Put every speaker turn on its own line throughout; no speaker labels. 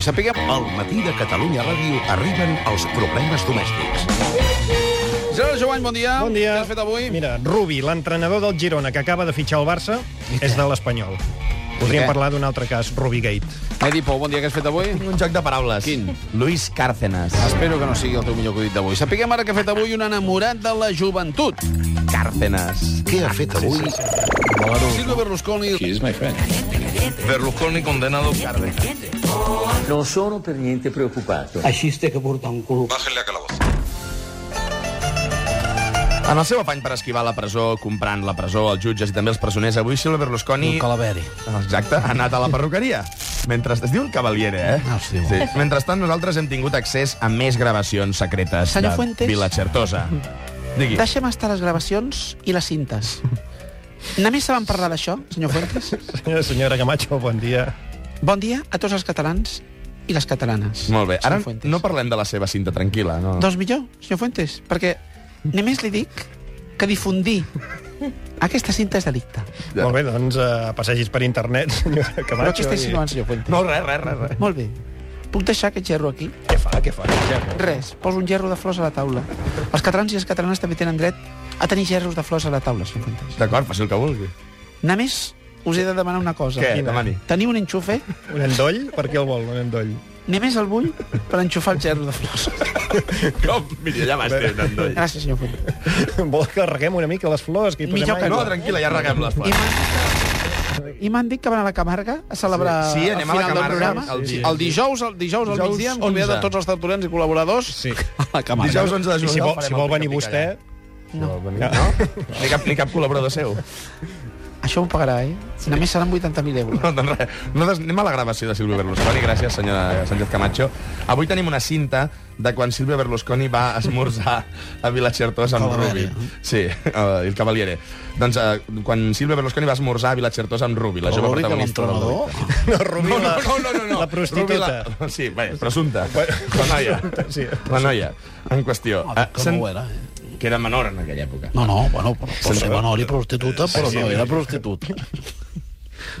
sapiguem. Al matí de Catalunya Ràdio arriben els problemes domèstics.
Gerard Joan, bon dia.
Bon dia.
Què has fet avui?
Mira, Rubi, l'entrenador del Girona que acaba de fitxar el Barça, és de l'Espanyol. Podríem
què?
parlar d'un altre cas, Rubi Gate.
Medi Pou, bon dia, què has fet avui?
Un joc de paraules.
Quin?
Luis Cárcenas.
Espero que no sigui el teu millor acudit d'avui. Sapiguem ara què ha fet avui un enamorat de la joventut.
Cárcenas.
Què ha fet avui?
Silvio Berlusconi... She is my friend.
Berlusconi condenado
Non sono per niente preoccupato.
Asiste que porta un club.
En el seu afany per esquivar la presó, comprant la presó, els jutges i també els presoners, avui Silvio Berlusconi...
Calaveri.
Exacte, ha anat a la perruqueria. Mentre es diu el Cavaliere, eh?
Ah, sí.
sí. Mentrestant, nosaltres hem tingut accés a més gravacions secretes
Senyor
de
Fuentes?
Vila Certosa. Digui.
Deixem estar les gravacions i les cintes. Només se van parlar d'això, senyor Fuentes?
Senyora, senyora Camacho, bon dia.
Bon dia a tots els catalans i les catalanes.
Molt bé, ara
senyor Fuentes.
no parlem de la seva cinta tranquil·la, no?
Doncs millor, senyor Fuentes, perquè només li dic que difundir aquesta cinta és delicte.
Ja.
Molt bé, doncs uh, passegis per internet, senyora
Però
Camacho.
què està
i-
insinuant, eh, senyor Fuentes?
No, res, res, res. res.
Molt bé. Puc deixar aquest gerro aquí?
Què fa, què fa? Ja,
Res, poso un gerro de flors a la taula. Els catalans i les catalanes també tenen dret a tenir gerros de flors a la taula, senyor Fuentes.
D'acord, faci el que vulgui.
Només us he de demanar una cosa.
Què?
quina?
Demani.
Teniu un enxufe?
Un endoll? Per què el vol, un endoll?
Només el vull per enxufar el gerro de flors.
Com? Mira, ja vas té un endoll.
Gràcies, senyor Fuentes.
Vol que reguem una mica les flors? Que hi posem
Millor que
aigua?
No, tranquil·la, ja reguem les
I
plantes.
m'han- I m'han dit que van a la Camarga a celebrar
Sí, sí,
el
anem a la
final del
Camarga,
programa.
el di-
el dijous, el dijous, al
Dijous
migdia, ens convida
11.
tots els tertulians i col·laboradors
Sí.
a la Camarga.
Dijous 11 de
I
juliol.
si vol,
farem
si
el
vol venir
pica-pica
vostè...
allà. No. Ni cap, ni cap col·laborador seu.
Això ho pagarà, eh? Sí. Només seran 80.000 euros.
No, doncs res. Nosaltres anem a la gravació de Silvio Berlusconi. Gràcies, senyora Sánchez Camacho. Avui tenim una cinta de quan Silvio Berlusconi va esmorzar a Vilacertós amb Rubi. Sí, uh, el Cavaliere. Doncs uh, quan Silvio Berlusconi va esmorzar a Vilacertós amb Rubi, la jove
Vol dir que
protagonista. del
l'entrenador...
No, Rubí,
No, no,
la-
no, no, no, no.
La prostituta.
Rubi, la... Sí, bé, presumpta.
Bueno.
La noia.
Sí.
La noia, en qüestió.
Ah, que
Eh,
no ho era, eh?
Que era menor en aquella època.
No, no, bueno, però, però sí, bueno, era prostituta, però no era prostituta.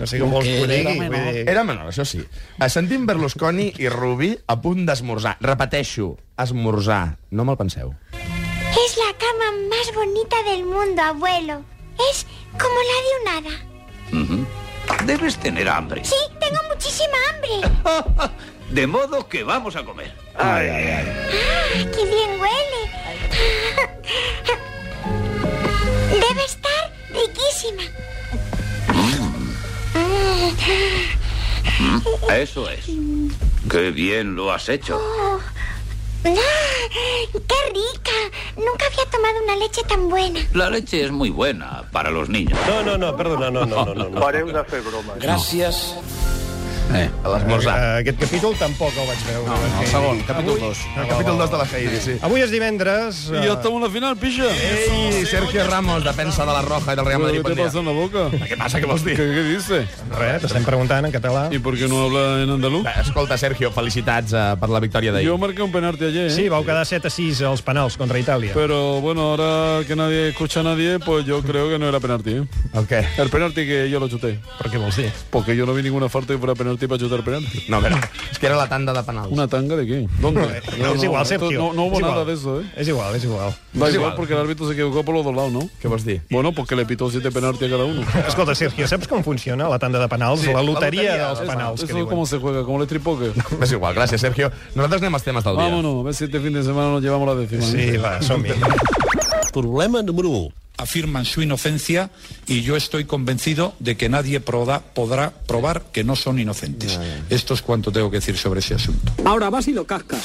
No sé com vols que ho
Era
digui.
menor.
vull dir-
Era menor, això sí. Eh, Sentim Berlusconi i Rubí a punt d'esmorzar. Repeteixo, esmorzar. No me'l penseu.
Es la cama más bonita del mundo, abuelo. Es como la de un hada.
Debes tener hambre.
Sí, tengo muchísima hambre.
De modo que vamos a comer.
¡Ah, ¡Qué bien huele! Debe estar riquísima.
Mm. Eso es. Qué bien lo has hecho.
Oh. ¡Ah, ¡Qué rica! Nunca había tomado una leche tan buena.
La leche es muy buena para los niños.
No, no, no, perdona, no, no, no. no, no.
Pareu de fer bromes.
Gràcies.
Eh,
A l'esmorzar.
Eh, Aquest capítol tampoc el vaig veure. No,
El segon, capítol 2.
El capítol 2 de la Heidi, sí.
Avui és divendres. eh,
en la final, pixa.
Ei, Sergio Ramos, defensa de la Roja i del Real Madrid. Bon dia.
en la boca?
Què passa, què vols dir?
¿Qué dice?
Res, t'estem preguntant en català.
por qué no habla en andaluz?
Va, Eh, Escolta, Sergio, felicitats eh, per la victòria d'ahir.
marqué un penalti ayer, ¿eh?
Sí, vau quedar 7 a 6 als penals contra Itàlia.
Pero bueno, ahora que nadie escucha a nadie, pues yo creo que no era penalti. ¿eh?
El què?
El penalti que yo lo chuté.
Per què vols dir?
Porque yo no vi ninguna falta que fuera penalti para chutar penalti.
No, però és que era la tanda de penals.
¿Una tanga de qué? ¿Dónde?
No, és igual,
esto-
Sergio.
No, no hubo
és igual.
nada de eso, ¿eh?
És igual, és igual.
Da
Es
igual,
igual.
porque el árbitro se equivocó por los dos lados, ¿no?
Què vols dir?
Bueno, porque le pitó siete penaltis a cada uno.
Escolta, Sergio, saps com funciona la tanda de penals?
Sí,
la
la
loteria
loteria,
dels
és-
penals, que
Eso es
diuen.
como se juega, como el strip poker.
És igual, gràcies, Sergio. Nosaltres anem als temes del dia.
Vámonos, a ver si este fin de semana nos llevamos la décima. ¿eh?
Sí, va, som-hi.
Problema número 1.
afirman su inocencia y yo estoy convencido de que nadie proda- podrá probar que no son inocentes. Esto es cuanto tengo que decir sobre ese asunto.
Ahora vas y lo cascas.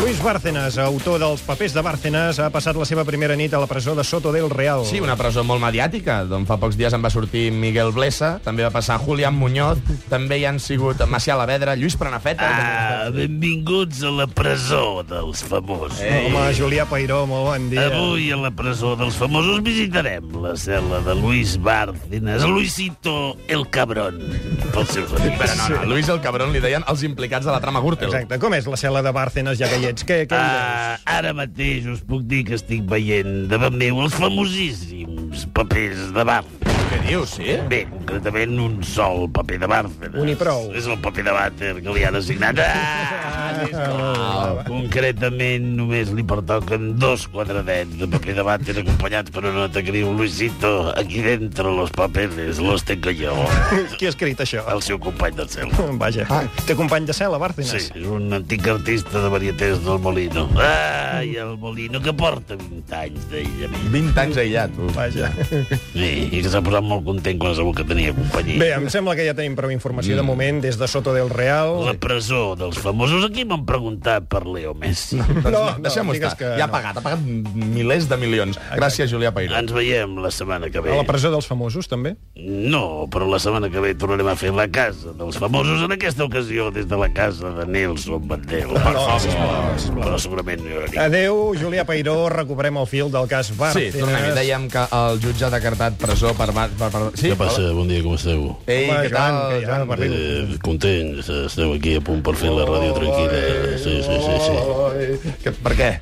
Luis Bárcenas, autor dels papers de Bárcenas, ha passat la seva primera nit a la presó de Soto del Real.
Sí, una presó molt mediàtica, d'on fa pocs dies en va sortir Miguel Blesa, també va passar Julián Muñoz, també hi han sigut Macià Alavedra, Lluís Prenafeta...
Ah, benvinguts a la presó dels famosos.
Home, Julià Pairó, molt bon dia.
Avui a la presó dels famosos visitarem la cel·la de Luis Bárcenas, Luisito el Cabrón, pels seus
Però
amics.
no, no, Luis el Cabrón li deien els implicats de la trama Gürtel.
Exacte, com és la cel·la de Bárcenas, ja que hi ets? Què, què hi veus?
Ah, ara mateix us puc dir que estic veient davant meu els famosíssims papers de Bárcenas.
dius, sí?
Bé, concretament un sol paper de Bárcenas.
Un i prou.
És el paper de vàter que li han assignat. Ah, sisplau. concretament només li pertoquen dos quadradets de paper de vàter acompanyats per una nota que diu Luisito, aquí dentro los papeles los tengo yo.
Qui ha escrit això?
El seu company de cel.
Vaja. Ah. Té company de cel, a
Sí,
Bárcenas.
és un antic artista de varietés del Molino. Ai, el Molino, que porta 20 anys d'aïllament.
20 anys aïllat. tu.
Vaja.
Sí, I que s'ha posat molt content quan sabut que tenia companyia.
Bé, em sembla que ja tenim prou informació de moment des de Soto del
Mm. La
Real.
presó dels famosos. Aquí m'han preguntat per Leo Messi.
Doncs
No,
no,
no,
deixem-ho
digues
estar.
que
Ja ha
no.
pagat, ha pagat milers de milions. Gràcies, Julià Pairó.
Ens veiem la setmana que ve.
A la presó dels famosos, també?
No, Oh, però la setmana que ve tornarem a fer la casa dels famosos, en aquesta ocasió des de la casa de Nelson Mandela. Per favor. Però segurament no hi haurà ningú.
Adeu, Julià Peiró, recobrem el fil del cas
Sí,
Bárcenas.
tornem-hi. Dèiem que el jutge ha decretat presó per... va- per, per... Sí?
Què passa? Bon dia, com esteu?
Ei,
Home,
què
Eh, Joan,
tal?
que ja,
Joan?
Bárcenas.
Eh, content, esteu aquí a punt per fer la ràdio tranquil·la. Sí, sí, sí, sí.
Que, per què?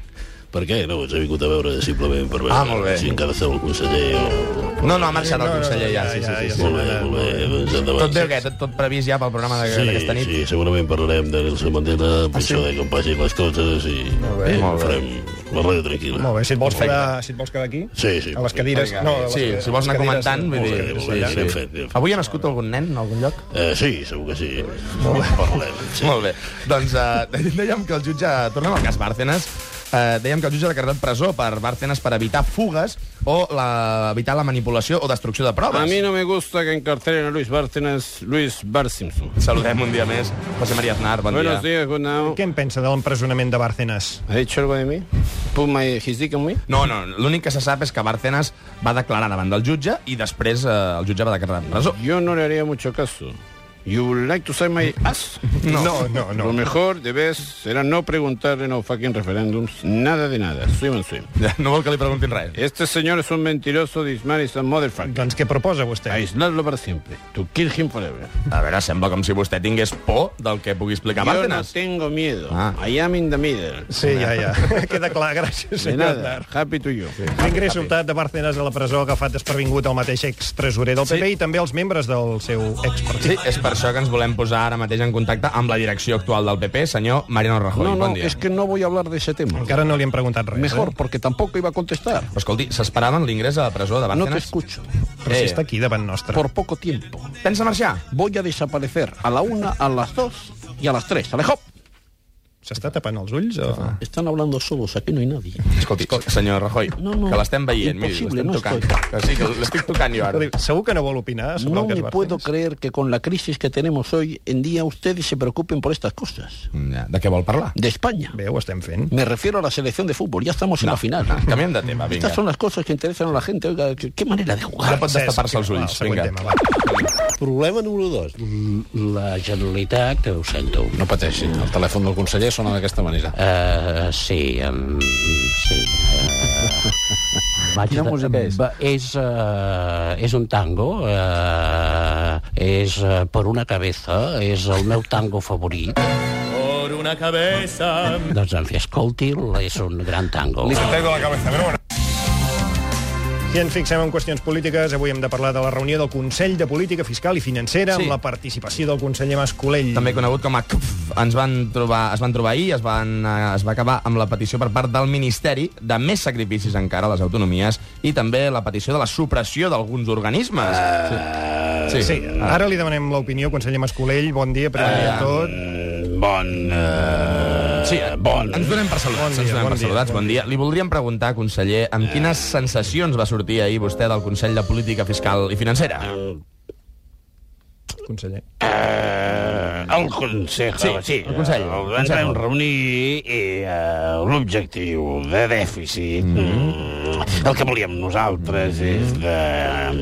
Per què? No, ens he vingut a veure simplement per veure
Ah, molt bé.
si encara esteu el conseller o...
No, no, ha marxat el conseller ja. Sí,
ja,
sí,
ja.
sí. sí.
Molt bé, molt bé, doncs endavant.
Tot bé o què? Tot, tot previst ja pel programa de- d'aquesta nit?
Sí, segurament parlarem de Nelson
Ah,
Mandela, per això eh, de com passin les coses i
bé,
i
molt bé.
farem la ràdio tranquil·la.
Molt bé, si et vols quedar, si et vols quedar aquí,
Sí, sí.
a les cadires...
Vinga.
No, a les,
sí,
a les
si vols anar
cadires-
comentant, vull
molt
dir...
bé, molt
Sí,
bé, anem
sí.
fent, anem fent.
Avui ha nascut algun nen en algun lloc?
Eh, sí, segur que sí. Parlem. Sí.
Molt bé. Doncs eh, dèiem que el jutge... Tornem al cas Bárcenas. Eh, dèiem que el jutge ha decretat presó per Bárcenas per evitar fugues o la, evitar la manipulació o destrucció de proves.
A mí no me gusta que encarcelen a Luis Bárcenas, Luis Bárcinson.
Saludem un dia més. José María Aznar, bon
Buenos
dia.
días, Gunao.
Què en pensa de l'empresonament de Bárcenas?
¿Ha dicho algo de mí? ¿Put my his dick on me?
No, no, l'únic que se sap és que Bárcenas va declarar davant del jutge i després eh, el jutge va decretar presó.
Yo no le haría mucho caso. You would like to say my ass?
No, no,
Lo
no.
mejor de vez será no preguntarle no fucking referendums, nada de nada. Swim and swim.
No vol que li preguntin res.
Este señor es un mentiroso, this man is a motherfucker.
Doncs què proposa vostè?
Aislarlo para siempre. To kill him forever.
A veure, sembla com si vostè tingués por del que pugui explicar
Yo no
Bárcenas.
tengo miedo.
Ah.
I am in the middle.
Sí, ja, ja. Queda clar, gràcies,
De
senyor
nada.
Aznar.
Happy to you.
L'ingrés sobtat de Bárcenas a la presó ha agafat despervingut el mateix ex-tresorer del PP
Sí.
i també els membres del seu expartit.
Sí, és per això que ens volem posar ara mateix en contacte amb la direcció actual del PP, senyor Mariano Rajoy.
No, no,
bon dia.
es que no voy a hablar de ese tema.
Encara no li hem preguntat res.
Mejor,
Eh?
porque tampoco iba a contestar.
Però escolti, s'esperaven l'ingrés a la presó de
No te
Bárcenas?
escucho.
eh? Però si està aquí davant nostre.
Por poco tiempo.
Pensa marxar?
Voy a desaparecer a la una, a las dos y a las tres. ¡Alejo!
S'està tapant els ulls o...?
Están hablando solos, aquí no hay nadie.
Escolti, senyor Rajoy,
No, no.
que l'estem veient,
Impossible,
miri, l'estem
no
tocant.
estoy.
Que sí, que l'estic tocant jo ara.
Escolti, Segur que no vol opinar sobre
No
el cas
me puedo
Bárcenas.
creer que con la crisis que tenemos hoy en día ustedes se preocupen por estas cosas.
Mm, Ja, de què vol parlar?
De España.
Bé, ho estem fent.
Me refiero a la selección de fútbol, ya estamos en la final.
Ah, Canviem de tema, vinga.
Estas son las cosas que interesan a la gente. Oiga, qué, qué manera de jugar.
Ara pot destapar-se els ulls,
Va,
vinga.
següent tema, va.
Problema número 2. La Generalitat, que ho sento.
No pateixi, el telèfon del conseller sona d'aquesta manera.
Eh,
Uh, sí, el... sí. Uh, vaig
Quina música és?
va- És, uh, és un tango, uh, és uh, per una cabeza, és el meu tango favorit.
Por una cabeza.
Doncs en fi, escolti'l, és un gran tango.
Si ens fixem en qüestions polítiques, avui hem de parlar de la reunió del Consell de Política Fiscal i Financera
Sí.
amb la participació del conseller Mascolell.
també conegut com a CUF. Ens van trobar, es van trobar ahir, es, van, eh, es va acabar amb la petició per part del Ministeri de més sacrificis encara a les autonomies i també la petició de la supressió d'alguns organismes. Sí.
Eh, Sí, ara li demanem l'opinió, conseller Mascolell. Bon dia, primer de tot.
Bon... Eh,
Sí, bon. Ens donem per saludats.
Bon
ens
dia,
donem
bon
per
dia,
saludats.
bon
Bon, dia. Li voldríem preguntar, conseller, amb quines sensacions va sortir ahir vostè del Consell de Política Fiscal i Financera?
Conseller.
Eh, el Consell.
Sí, el Consell.
El
Consell.
ens vam reunir i eh, l'objectiu de dèficit, mm, el que volíem nosaltres és de...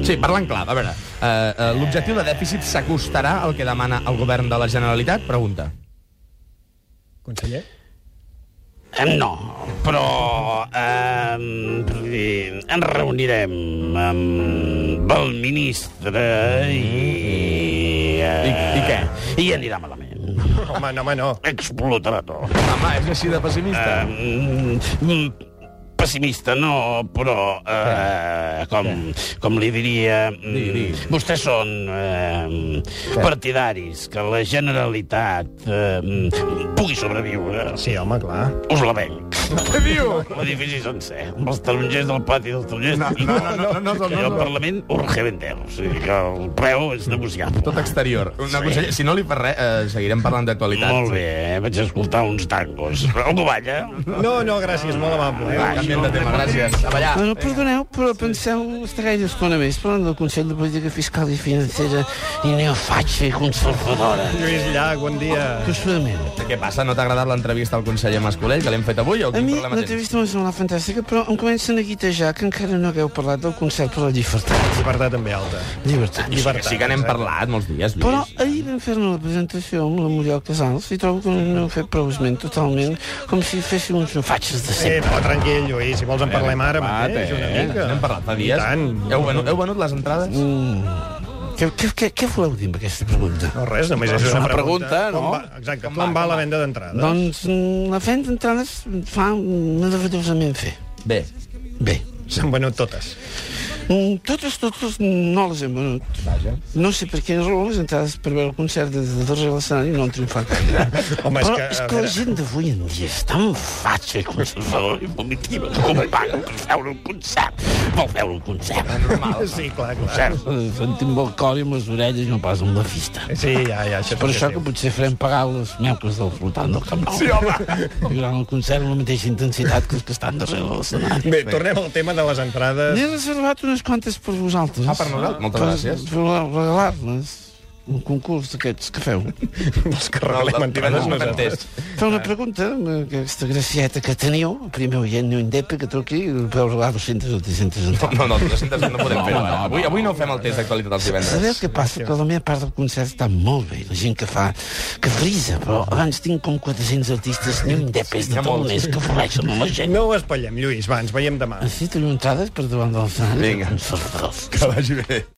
Sí, parlant clar, a veure, eh, eh, l'objectiu de dèficit s'acostarà al que demana el govern de la Generalitat? Pregunta.
Conseller?
Eh, No, però eh, per dir,
em,
ens reunirem amb el ministre i... Eh,
I- i què?
I anirà malament.
Home, no, home, no.
Explotarà tot.
Eh.
Home, és així de pessimista.
Eh, mm, pessimista no, però eh, com, com li diria... mm, Vostès són eh, partidaris que la Generalitat eh, mm, pugui sobreviure.
Sí, home, clar.
Us la venc.
Què diu?
L'edifici sencer, amb els tarongers del pati dels tarongers.
No, no, no, no, no, no,
I
no,
el
no.
Parlament urgevendeu. O sigui que el preu és negociable.
Tot exterior. Una
Sí.
consellera, si no li fa res, eh, seguirem parlant d'actualitat.
Molt bé, eh? vaig escoltar uns tangos. Algú balla?
No, no, gràcies, molt amable. Eh?
Canviem de tema, gràcies. A ballar.
No, no, perdoneu, però penseu estar gaire estona més parlant del Consell de Política Fiscal i Financera i neofatxa i conservadora.
Lluís Llach, bon dia.
Que segurament.
Què passa? No t'ha agradat l'entrevista al conseller Mascolell, que l'hem fet avui, o
A
quin
mi
problema tens?
l'entrevista m'ha semblat fantàstica, però em comencen a guitejar que encara no hagueu parlat del concert per la llibertat.
Llibertat també alta.
Llibertat.
Llibertat, sí que n'hem parlat molts dies, Lluís.
Però
é.
ahir vam fer-ne la presentació amb la Muriel Casals i trobo que no hem fet prou esment totalment, com si féssim uns fatxes de
Eh,
sempre.
però tranquil, Lluís, si vols en parlem ara
Ah,
mateix,
eh?
una mica.
N'hem parlat fa
I
dies.
tant.
Heu venut, heu venut les entrades?
Què, què, què, què voleu dir amb aquesta pregunta?
No, res, només és una,
una pregunta,
Com
no?
va, exacte, com, va la venda d'entrades?
Doncs mm, la fent d'entrades fa meravellosament fer.
Bé.
Bé.
S'han venut totes.
Mm, Totes, totes no les hem venut. Vaja. No sé per quina raó les entrades per veure el concert de, de darrere l'escenari no han triomfat gaire.
Home, és
Però
que,
és
a
que la
veure-
gent d'avui en um dia és tan fatxa i conservadora i vomitiva que com paga per veure un concert. Vol veure un concert.
Sí, clar, clar.
Cert.
Eh, Sentim el cor i amb les orelles i no pas amb la vista.
Sí, ja, ja, això
Per
sí
això
és
que
teu.
potser farem pagar les meuques del flotant del Camp Nou. Sí, home! Durant el concert amb la mateixa intensitat que els que estan darrere de l'escenari.
Bé, tornem al tema de les entrades.
N'he reservat unes quantes per vosaltres.
Ah, per nosaltres? Moltes
Per-
gràcies.
Per regalar-les. Un concurs d'aquests um que feu.
Els que regalem entrades
no,
nosaltres.
Feu una pregunta, amb aquesta gracieta que teniu, el primer oient no indepe que truqui, i veu regalar 200 o 300 entrades.
no, no, no, no podem fer-ho. ara. Avui, avui no fem el test d'actualitat els
Sabeu
divendres.
què passa? Que la meva part del concert està molt bé, la gent que fa, que frisa, però abans tinc com 400 artistes no indepes de
N'hi ha
tot el
molts.
mes que flexen amb la gent.
No ho espatllem, Lluís, va, ens veiem demà.
Necessito entrades per davant de l'escenari.
Vinga.
Conservadors.
Que vagi bé.